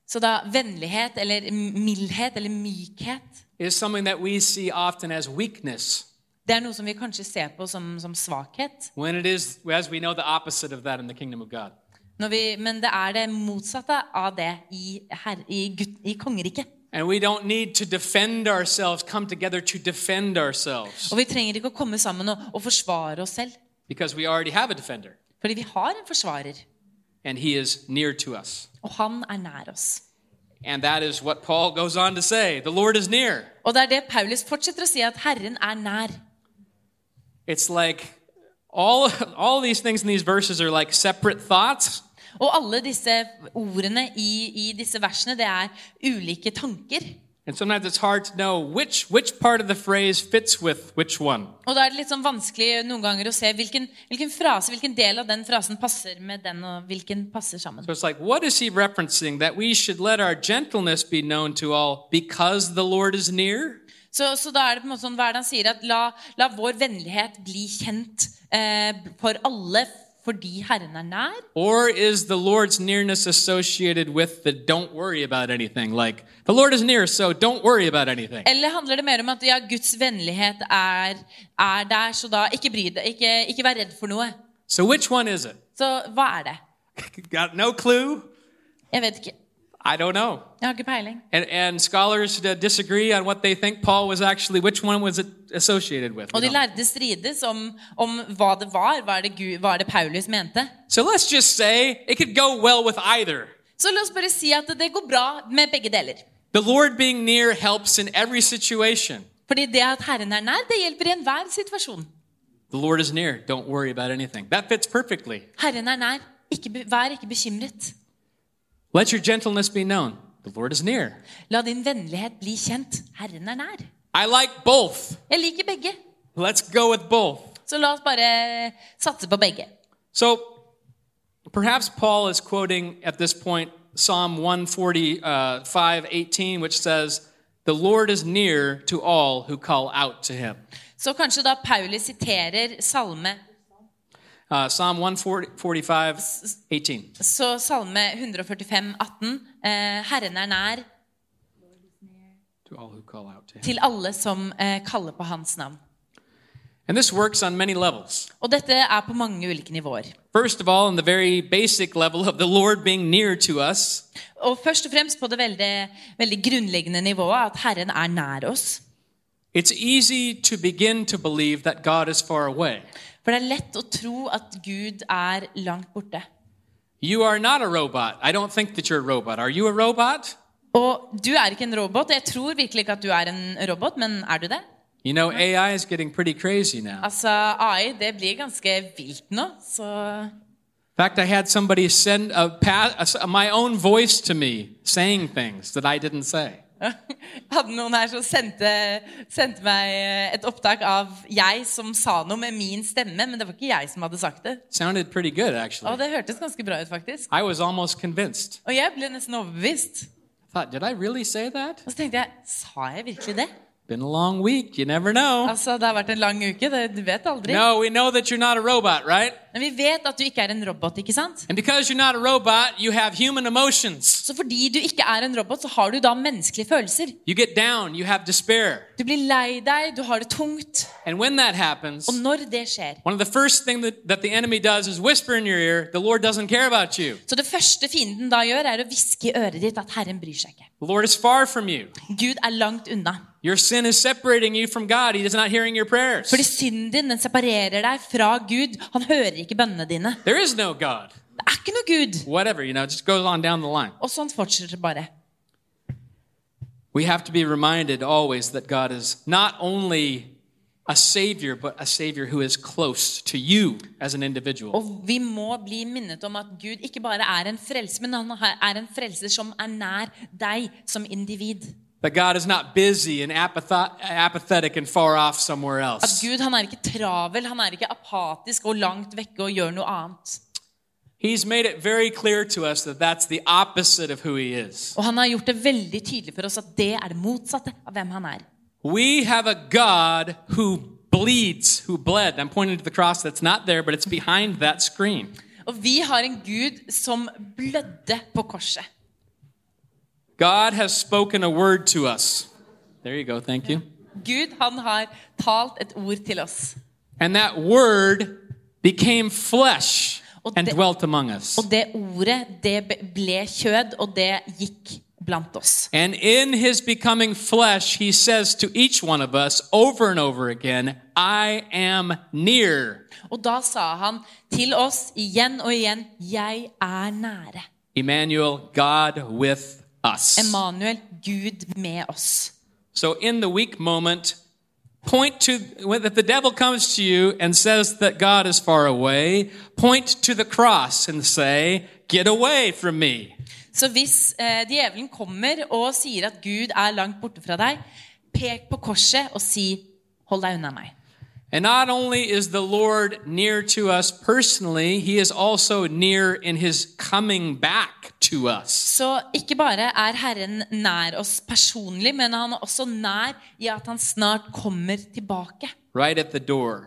S3: Så da vennlighet eller mildhet eller mykhet,
S2: is something that we see often as weakness
S3: det er noe som vi kanskje ser på som, som svakhet.
S2: when it is, as we know, the opposite of that in the kingdom of God.
S3: Når vi, men det er det motsatte av det i, her, i, Gud- i kongeriket.
S2: And we don't need to defend ourselves, come together to defend ourselves
S3: Og vi trenger ikke å komme sammen og, og forsvare oss selv.
S2: because we already have a defender
S3: Fordi vi har en forsvarer,
S2: and he is near to us.
S3: og han er nær oss.
S2: And that is what Paul goes on to say the Lord is near.
S3: Og det er det Paulus fortsetter å si, at Herren er nær.
S2: It's like all, all these things in these verses are like separate thoughts,
S3: Og alle disse ordene i, i disse versene, det er ulike tanker.
S2: and sometimes it's hard to know which, which part of the phrase fits with which one.
S3: Og da er det litt sånn vanskelig noen ganger å se hvilken, hvilken frase, hvilken del av den frasen passer med den, og hvilken passer sammen.
S2: So it's like, what is he referencing? That we should let our gentleness be known to all because the Lord is near?
S3: Så, så da er det på en måte sånn, hva er det han sier? At la, la vår vennlighet bli kjent eh, for alle fordi Herren er nær.
S2: Or is the Lord's nearness associated with the don't worry about anything? Like, the Lord is near, so don't worry about anything.
S3: Eller handler det mer om at ja, Guds vennlighet er, er der, så da ikke bry deg, ikke, ikke vær redd for noe.
S2: So which one is it?
S3: Så hva er det?
S2: Got no clue?
S3: Jeg vet ikke.
S2: I don't know.
S3: Jeg har ikke peiling.
S2: And, and scholars uh, disagree on what they think Paul was actually, which one was it associated with? We
S3: Og de
S2: don't-
S3: lærde strides om, om hva det var. Hva er det, Gud, hva er det Paulus mente?
S2: So let's just say it could go well with either.
S3: Så la oss bare si at det går bra med begge deler.
S2: The Lord being near helps in every situation.
S3: Fordi det at Herren er nær, det hjelper i enhver situasjon.
S2: The Lord is near. Don't worry about anything. That fits perfectly.
S3: Herren er nær. Ikke, be- vær ikke bekymret.
S2: Let your gentleness be known. The Lord is near.
S3: La din vennlighet bli kjent. Herren er nær.
S2: I like both.
S3: Jeg liker begge,
S2: Let's go with both.
S3: så la oss bare satse på begge.
S2: So perhaps Paul is quoting at this point Psalm 145 18, which says, The Lord is near to all who call out to him.
S3: Så kanskje da Paulus siterer salme,
S2: Uh, Psalm 145 18.
S3: så salme 145, 18, eh, Herren er nær
S2: To all who call out to him.
S3: til alle som eh, kaller på hans navn.
S2: And this works on many levels.
S3: Og dette er på mange ulike nivåer.
S2: First of all, on the very basic level of the Lord being near to us,
S3: Og først og fremst på det veldig, veldig grunnleggende nivået, at Herren er nær oss.
S2: it's easy to begin to believe that God is far away.
S3: For det er lett å tro at Gud er langt borte.
S2: You are not a robot. I don't think that you're a robot. Are you a robot?
S3: Og du er ikke en robot. Jeg tror virkelig ikke at du er en robot, men er du det?
S2: You know, AI is getting pretty crazy now. In
S3: Altså, AI, det blir ganske vilt nå, så
S2: fact, I had somebody send a pa- a s- my own voice to me saying things that I didn't say.
S3: Jeg hadde noen her som sendte, sendte meg et opptak av jeg som sa noe med min stemme, men det var ikke jeg som hadde sagt det.
S2: Sounded pretty good,
S3: Og
S2: actually.
S3: det hørtes ganske bra ut, faktisk.
S2: I was almost convinced.
S3: Og jeg ble nesten overbevist.
S2: I thought, did I really say that?
S3: Og så tenkte jeg, sa jeg virkelig det?
S2: Been a long week. You never know.
S3: Altså, det har vært en lang uke, det, du vet aldri.
S2: No, we know that you're not a robot, right?
S3: Men vi vet at du ikke er en robot, ikke sant?
S2: And because you're not a robot, you have human emotions.
S3: Så fordi du ikke er en robot, så har du da menneskelige følelser.
S2: You get down, you have despair.
S3: Du blir lei deg, du har det tungt.
S2: And when that happens,
S3: Og når det skjer,
S2: one of the first things that, that the enemy does is whisper in your ear, the Lord doesn't care about you.
S3: Så det første fienden da gjør, er å hviske i øret ditt at Herren bryr seg ikke.
S2: The Lord is far from you.
S3: Gud er langt unna.
S2: Your sin is separating you from God. He is not hearing your prayers.
S3: Fordi synden din den separerer deg fra Gud. Han hører ikke bønnene dine.
S2: There is no God.
S3: Det er ikke noe Gud.
S2: Whatever, you know, it just goes on down the line.
S3: Og sånn fortsetter det bare.
S2: We have to be reminded always that God is not only a Savior, but a Savior who is close to you as an individual.
S3: Og vi må bli minnet om at Gud ikke bare er en frelser, men han er en frelser som er nær deg som individ.
S2: That God is not busy and apatho- apathetic and far off somewhere
S3: At
S2: else.
S3: Gud han er ikke travel, han er ikke apatisk og langt vekke og gjør noe annet.
S2: He's made it very clear to us that that's the opposite of who he is.
S3: Og han har gjort det veldig tydelig for oss at det er det motsatte av hvem han er.
S2: We have a God who bleeds, who bled. I'm pointing to the cross that's not there, but it's behind that screen.
S3: Og vi har en Gud som blødde på korset.
S2: God has spoken a word to us. There you go, thank you.
S3: Gud, han har talt et ord til oss.
S2: And that word became flesh
S3: Och
S2: and
S3: det-
S2: dwelt among us.
S3: Og det ordet, det be- ble kjød, og det gikk blant oss.
S2: And in his becoming flesh, he says to each one of us over and over again, I am near.
S3: Og da sa han til oss igjen og igjen, jeg er nære.
S2: Emmanuel, God with us.
S3: Emanuel, Gud med oss.
S2: So in the weak moment, point to, when if the devil comes to you and says that God is far away, point to the cross and say, get away from me.
S3: Så hvis eh, djevelen kommer og sier at Gud er langt borte fra deg, pek på korset og si, hold deg unna meg.
S2: And not only is the Lord near to us personally, he is also near in his coming back to us.
S3: Så ikke bare er Herren nær oss personlig, men han er også nær i at han snart kommer tilbake.
S2: Right at the door.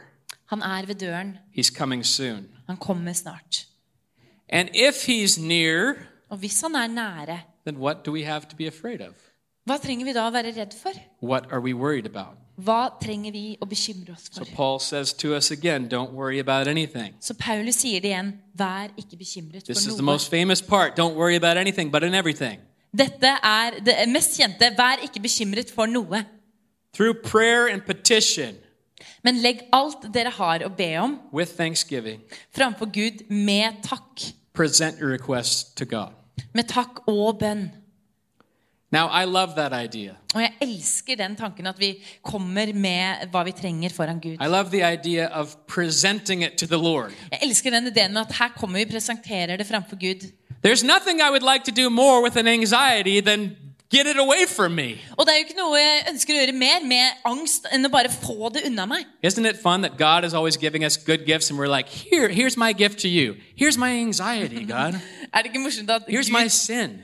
S3: Han er ved døren.
S2: He's coming soon.
S3: Han kommer snart.
S2: And if he's near,
S3: Og hvis han er nære,
S2: then what do we have to be afraid of?
S3: hva trenger vi da å være redd for?
S2: What are we worried about?
S3: Hva trenger vi å bekymre oss
S2: So
S3: for?
S2: Paul says to us again, don't worry about anything.
S3: Så Paulus sier det igjen, vær ikke bekymret
S2: This is
S3: for
S2: the
S3: noe.
S2: most famous part. Don't worry about anything, but in everything.
S3: Dette er det mest kjente, vær ikke bekymret for noe.
S2: Through prayer and petition,
S3: Men legg alt dere har å be om,
S2: with thanksgiving,
S3: framfor Gud med takk.
S2: present your requests to God.
S3: Med takk og bønn.
S2: Now, I love that idea.
S3: Og jeg elsker den tanken at vi kommer med hva vi trenger foran Gud.
S2: I love the idea of presenting it to the Lord.
S3: Jeg elsker den ideen med at her kommer vi presenterer det framfor Gud.
S2: There's nothing I would like to do more with an anxiety than get it away from me.
S3: Og det er jo ikke noe jeg ønsker å gjøre mer med angst enn å bare få det unna meg.
S2: Isn't it fun that God is always giving us good gifts and we're like, here, here's my gift to you. Here's my anxiety, God.
S3: Er det ikke morsomt at
S2: Here's my
S3: Gud,
S2: sin.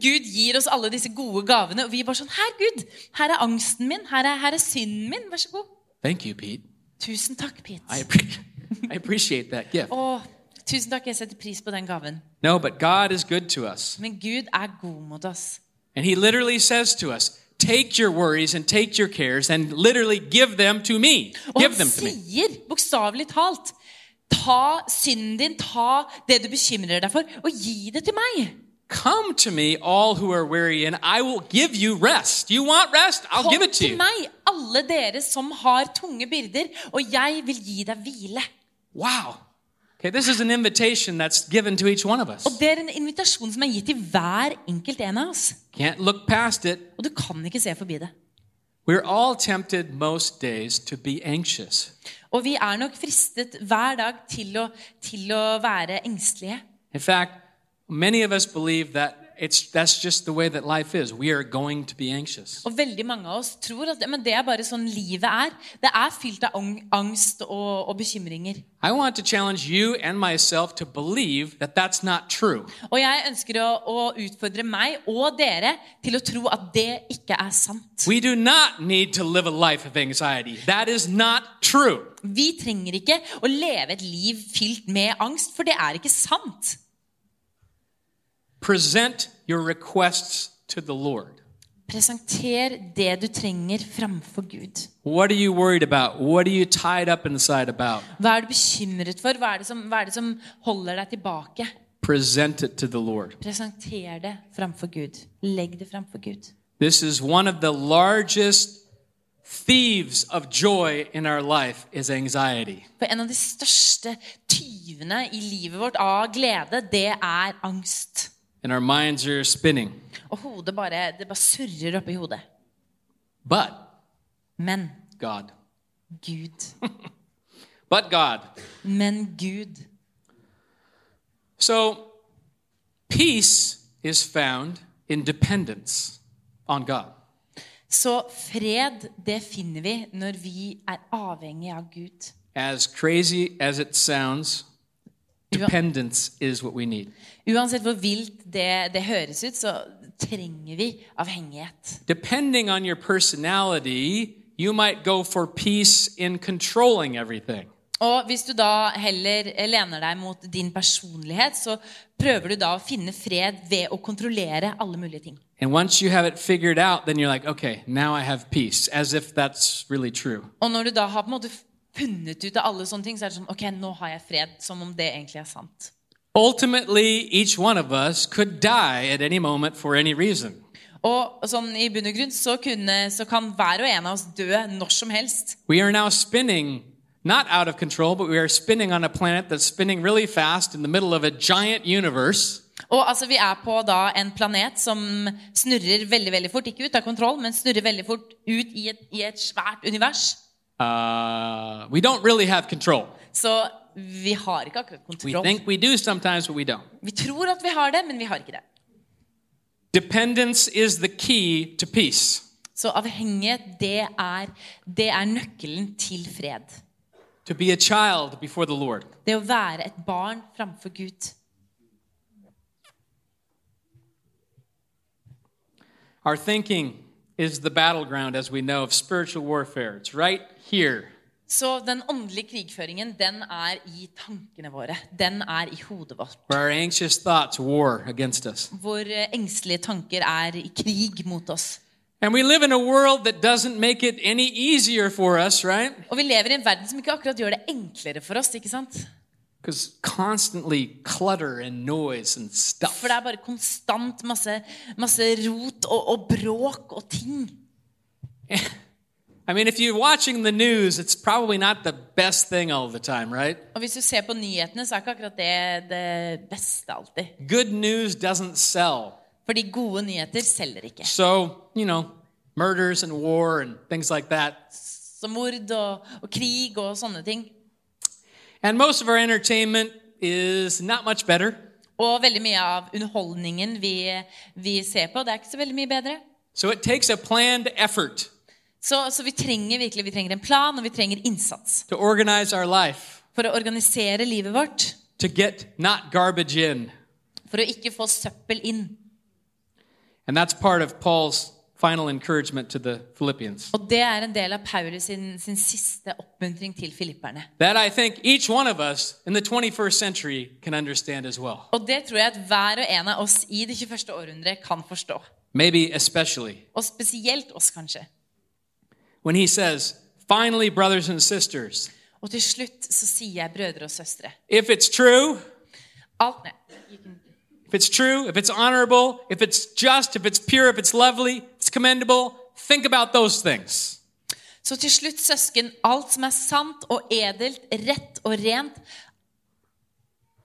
S3: Gud gir oss alle disse gode gavene, og vi bare sånn Her, Gud! Her er angsten min. Her er, her er synden min. Vær så god.
S2: Thank you, Pete.
S3: Tusen takk, Pete.
S2: I, appre- I appreciate that gift.
S3: Å, tusen takk. Jeg setter pris på den gaven.
S2: No, but God is good to us.
S3: Men Gud er god mot oss.
S2: And he literally says to us, Take your worries and take your cares and literally give them to me.
S3: Og
S2: Give
S3: han
S2: them to me.
S3: sier, bokstavelig talt, ta synden din, ta det du bekymrer deg for, og gi det til meg.
S2: Come to me, all who are weary, and I will give you rest. You want rest? I'll
S3: Kom
S2: give it to
S3: til
S2: you.
S3: meg, alle dere som har tunge byrder, og jeg vil gi deg hvile.
S2: Wow. Okay, this is an invitation that's given to each one of us.
S3: Og det er en invitasjon som er gitt til hver enkelt en av oss.
S2: Can't look past it.
S3: Og du kan ikke se forbi det.
S2: We're all tempted most days to be anxious.
S3: Og vi er nok fristet hver dag til å, til å være engstelige.
S2: In fact, many of us believe that it's that's just the way that life is. We are going to be anxious.
S3: Og veldig mange av oss tror at men det er bare sånn livet er. Det er fylt av ang- angst og, og bekymringer.
S2: I want to challenge you and myself to believe that that's not true.
S3: Og jeg ønsker å, å utfordre meg og dere til å tro at det ikke er sant.
S2: We do not need to live a life of anxiety. That is not true.
S3: Vi trenger ikke å leve et liv fylt med angst, for det er ikke sant.
S2: Present your requests to the Lord.
S3: Presenter det du trenger framfor Gud.
S2: What are you worried about? What are you tied up inside about?
S3: Hva er du bekymret for? Hva er det som, hva er det som holder deg tilbake?
S2: Present it to the Lord.
S3: Presenter det framfor Gud. Legg det framfor Gud.
S2: This is one of the largest thieves of joy in our life is anxiety.
S3: For en av de største tyvene i livet vårt av glede, det er angst.
S2: And our minds are spinning.
S3: Og hodet bare, det bare surrer oppi hodet.
S2: But
S3: Men
S2: God.
S3: Gud.
S2: But God.
S3: Men Gud.
S2: So, peace is found in dependence on God.
S3: Så fred, det finner vi når vi er avhengig av Gud.
S2: As crazy as it sounds,
S3: Ua-
S2: Dependence is what we need.
S3: Uansett hvor vilt det, det høres ut, så trenger vi avhengighet.
S2: Depending on your personality, you might go for peace in controlling everything.
S3: Og hvis du da heller lener deg mot din personlighet, så prøver du da å finne fred ved å kontrollere alle mulige ting.
S2: And once you have it figured out, then you're like, okay, now I have peace, as if that's really true.
S3: Og når du da har på en måte funnet ut av alle sånne ting, så er det sånn Ok, nå har jeg fred. Som om det egentlig er sant.
S2: Ultimately, each one of us could die at any moment for any reason.
S3: Og sånn i bunn og grunn så, kunne, så kan hver og en av oss dø når som helst.
S2: We are now spinning, not out of control, but we are spinning on a planet that's spinning really fast in the middle of a giant universe.
S3: Og altså, vi er på da en planet som snurrer veldig veldig fort. Ikke ut av kontroll, men snurrer veldig fort ut i et, i et svært univers.
S2: Uh, we don't really have control.
S3: Så vi har ikke akkurat
S2: We
S3: kontroll.
S2: think we do sometimes, but we don't.
S3: Vi tror at vi har det, men vi har ikke det.
S2: Dependence is the key to peace.
S3: Så avhengighet, det er, det er nøkkelen til fred.
S2: To be a child before the Lord.
S3: Det å være et barn framfor Gud.
S2: Our thinking is the battleground, as we know, of spiritual warfare. It's right here.
S3: Så den åndelige krigføringen, den er i tankene våre. Den er i hodet vårt.
S2: where our anxious thoughts war against us.
S3: Hvor eh, engstelige tanker er i krig mot oss.
S2: And we live in a world that doesn't make it any easier for us, right?
S3: Og vi lever i en verden som ikke akkurat gjør det enklere for oss. ikke sant?
S2: Because constantly clutter and noise and stuff.
S3: For det er bare konstant masse, masse rot og, og bråk og ting.
S2: I mean, if you're watching the news, it's probably not the best thing all the time, right?
S3: Og hvis du ser på nyhetene, så er ikke akkurat det det beste alltid.
S2: Good news doesn't sell.
S3: Fordi gode nyheter selger ikke.
S2: So, you know, murders and war and things like that.
S3: Så mord og, og krig og sånne ting.
S2: And most of our entertainment is not much better.
S3: Og veldig mye av underholdningen vi, vi ser på, det er ikke så veldig mye bedre.
S2: So it takes a planned effort
S3: Så, så vi trenger virkelig vi trenger en plan, og vi trenger innsats
S2: to organize our life,
S3: for å organisere livet vårt.
S2: to get not garbage in.
S3: For å ikke få søppel inn.
S2: And that's part of Paul's final encouragement to the Philippians.
S3: Og det er en del av Paulus sin, sin siste oppmuntring til filipperne.
S2: That I think each one of us in the 21st century can understand as well.
S3: Og det tror jeg at hver og en av oss i det 21. århundret kan forstå.
S2: Maybe especially
S3: Og spesielt oss, kanskje.
S2: when he says, finally, brothers and sisters,
S3: Og til slutt så sier jeg brødre og søstre.
S2: if it's true,
S3: Alt ned.
S2: if it's true, if it's honorable, if it's just, if it's pure, if it's lovely, if it's commendable, think about those things.
S3: Så til slutt, søsken, alt som er sant og edelt, rett og rent,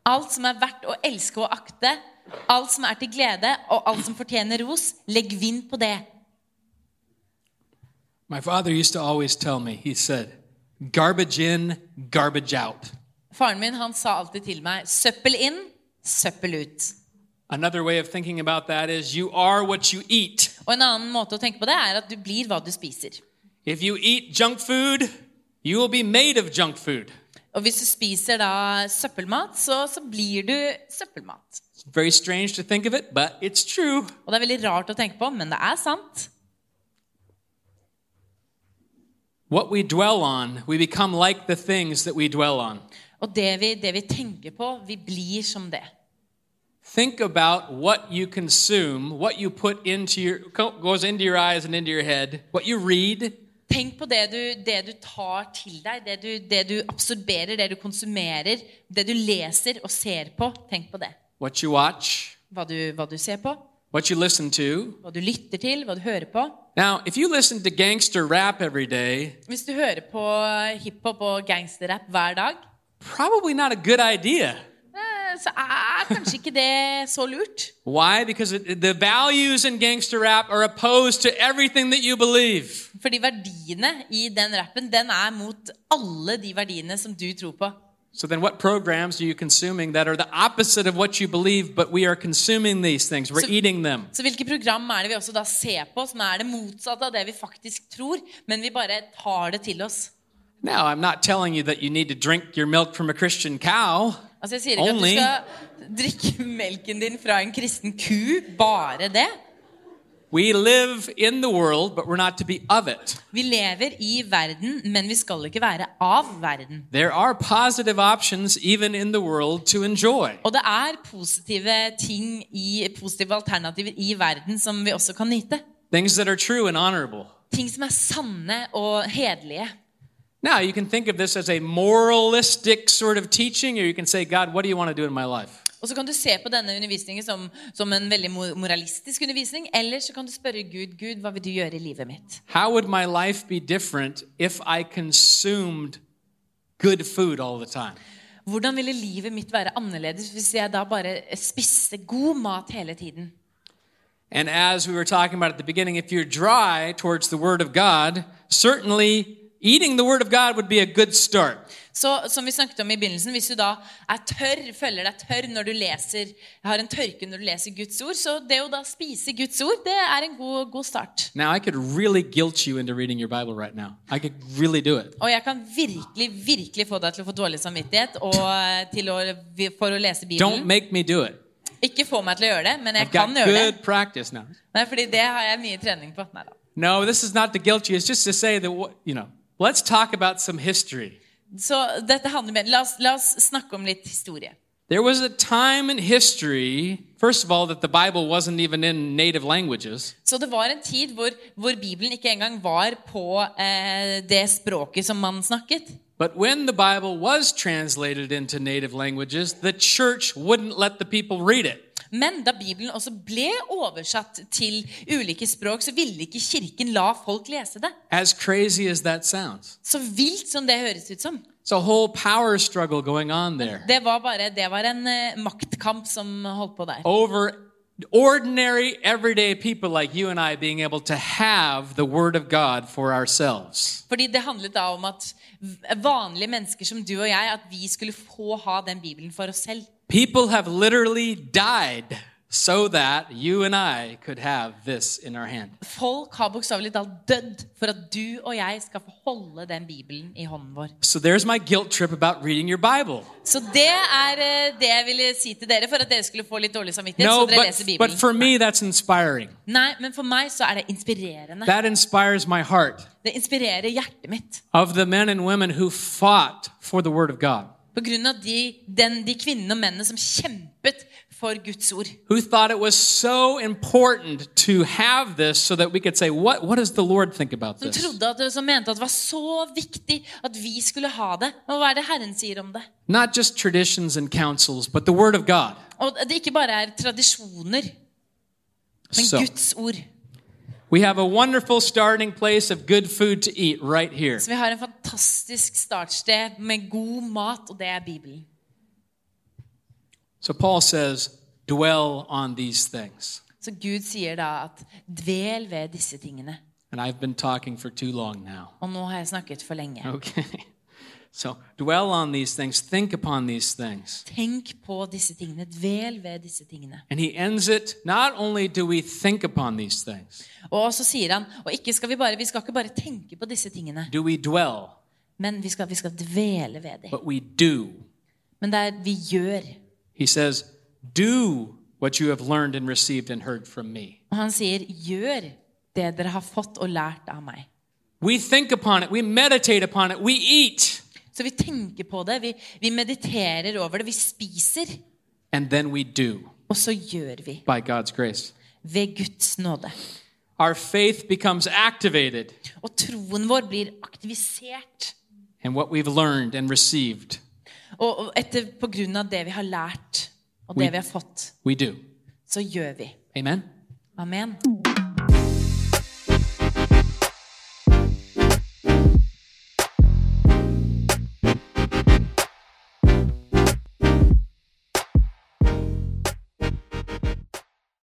S3: alt som er verdt å elske og akte, alt som er til glede, og alt som fortjener ros, legg vind på det.
S2: My father used to always tell me, he said, garbage in, garbage out.
S3: Faren min han sa alltid til meg 'søppel inn, søppel ut'.
S2: Another way of thinking about that is you are what you eat.
S3: Og en annen måte å tenke på det er at du blir hva du spiser.
S2: If you eat junk food, you will be made of junk food.
S3: Og hvis du spiser da søppelmat, så, så blir du søppelmat.
S2: It's very strange to think of it, but it's true.
S3: Og det er veldig rart å tenke på, men det er sant.
S2: What we dwell on, we become like the things that we dwell on.
S3: Og det vi, det vi tenker på, vi blir som det.
S2: Think about what you consume, what you put into your co- goes into your eyes and into your head, what you read,
S3: Tenk på det du, det du tar til deg, det du, det du absorberer, det du konsumerer, det du leser og ser på. Tenk på det.
S2: what you watch,
S3: Hva du, hva du ser på,
S2: what you listen to.
S3: hva du lytter til, hva du hører på.
S2: Now, if you listen to gangster rap every day,
S3: Hvis du hører på hiphop og gangsterrap hver dag,
S2: probably not a good idea.
S3: eh, så er kanskje ikke det så lurt.
S2: Why? Because it, the values in gangster rap are opposed to everything that you believe.
S3: Fordi verdiene i den rappen, den er mot alle de verdiene som du tror på.
S2: So then what programs are you consuming that are the opposite of what you believe, but we are consuming these things, we're
S3: So-
S2: eating them?
S3: Så hvilke program er det vi også da ser på som er det motsatte av det vi faktisk tror, men vi bare tar det til oss?
S2: Now, I'm not telling you that you need to drink your milk from a Christian cow,
S3: Altså, jeg sier ikke
S2: Only-
S3: at du skal drikke melken din fra en kristen ku. Bare det.
S2: We live in the world, but we're not to be of it.
S3: Vi lever i verden, men vi skal ikke være av verden.
S2: There are positive options even in the world to enjoy.
S3: Og det er positive ting i, positive alternativer i verden som vi også kan nyte.
S2: Things that are true and honorable.
S3: Ting som er sanne og hederlige.
S2: Now, you can think of this as a moralistic sort of teaching, or you can say, God, what do you want to do in my life?
S3: Og så kan du se på denne undervisningen som, som en veldig mo- moralistisk undervisning, eller så kan du spørre Gud, Gud, hva vil du gjøre i livet mitt?
S2: How would my life be different if I consumed good food all the time?
S3: Hvordan ville livet mitt være annerledes hvis jeg da bare spiste god mat hele tiden?
S2: And as we were talking about at the beginning, if you're dry towards the Word of God, certainly eating the Word of God would be a good start.
S3: Så som vi snakket om i begynnelsen, hvis du da er tørr, føler deg tørr når du leser, har en tørke når du leser Guds ord, så det å da spise Guds ord, det er en god, god start.
S2: Now, I could really guilt you into reading your Bible right now. I could really do it.
S3: Og jeg kan virkelig, virkelig få deg til å få dårlig samvittighet og eh, til å, for å lese
S2: Don't
S3: Bibelen.
S2: make me do it.
S3: Ikke få meg til å gjøre det, men jeg
S2: I've got
S3: kan gjøre det.
S2: good practice now.
S3: Nei, fordi det har jeg mye trening på. Neida.
S2: No, this is not to guilt you. It's just to say that, what- you know, let's talk about some history.
S3: Så dette handler mer La oss, la oss snakke om litt historie.
S2: There was a time in history, first of all, that the Bible wasn't even in native languages.
S3: Så det var en tid hvor, hvor Bibelen ikke engang var på eh, det språket som man snakket.
S2: But when the Bible was translated into native languages, the church wouldn't let the people read it.
S3: Men da Bibelen også ble oversatt til ulike språk, så ville ikke kirken la folk lese det.
S2: As crazy as that sounds.
S3: Så vilt som det høres ut som.
S2: It's a whole power struggle going on there.
S3: Det var bare, det var en eh, maktkamp som holdt på der.
S2: Over ordinary, everyday people like you and I being able to have the Word of God for ourselves.
S3: Fordi det handlet da om at v- vanlige mennesker som du og jeg, at vi skulle få ha den Bibelen for oss selv.
S2: People have literally died so that you and I could have this in our hand.
S3: Folk har bokstavelig talt dødd for at du og jeg skal få holde den Bibelen i hånden vår.
S2: So there's my guilt trip about reading your Bible.
S3: Så det er eh, det jeg ville si til dere for at dere skulle få litt dårlig samvittighet.
S2: No,
S3: så dere
S2: but,
S3: leser
S2: but
S3: Bibelen.
S2: for me, that's inspiring.
S3: Nei, men for meg så er det inspirerende.
S2: That inspires my heart
S3: Det inspirerer hjertet mitt.
S2: of the men and women who fought for the Word of God,
S3: På grunn av de, den, de kvinnene og mennene som kjempet for Guds ord.
S2: who thought it was so important to have this so that we could say, What, what does the Lord think about
S3: Som
S2: this?
S3: trodde at, som mente at det var så viktig at vi skulle ha det. Og hva er det Herren sier om det?
S2: Not just traditions and councils, but the Word of God.
S3: Og det ikke bare er tradisjoner, men
S2: So,
S3: Guds ord.
S2: we have a wonderful starting place of good food to eat right here.
S3: Så vi har en fantastisk startsted med god mat, og det er Bibelen.
S2: So Paul says, dwell on these things.
S3: Så Gud sier da at dvel ved disse tingene.
S2: And I've been talking for too long now.
S3: Og nå har jeg snakket for lenge.
S2: Okay. So dwell on these things, think upon these things.
S3: Tenk på disse tingene. Dvel ved disse tingene.
S2: And he ends it not only do we think upon these things,
S3: Og så sier han og ikke skal vi, bare, vi skal ikke bare tenke på disse tingene,
S2: do we dwell,
S3: men vi skal, vi skal dvele ved dem.
S2: but we do.
S3: Men det er vi gjør.
S2: He says, do what you have learned and received and heard from me.
S3: Og han sier, gjør det dere har fått og lært av meg.
S2: We think upon it, we meditate upon it, we eat,
S3: Så vi tenker på det, vi, vi mediterer over det, vi spiser,
S2: and then we do
S3: og så gjør vi.
S2: by God's grace.
S3: Ved Guds nåde.
S2: Our faith becomes activated
S3: Og troen vår blir aktivisert.
S2: in what we've learned and received.
S3: Og og etter, på grunn av det vi har lært, og det vi har fått,
S2: We do.
S3: så gjør vi.
S2: Amen.
S3: Amen.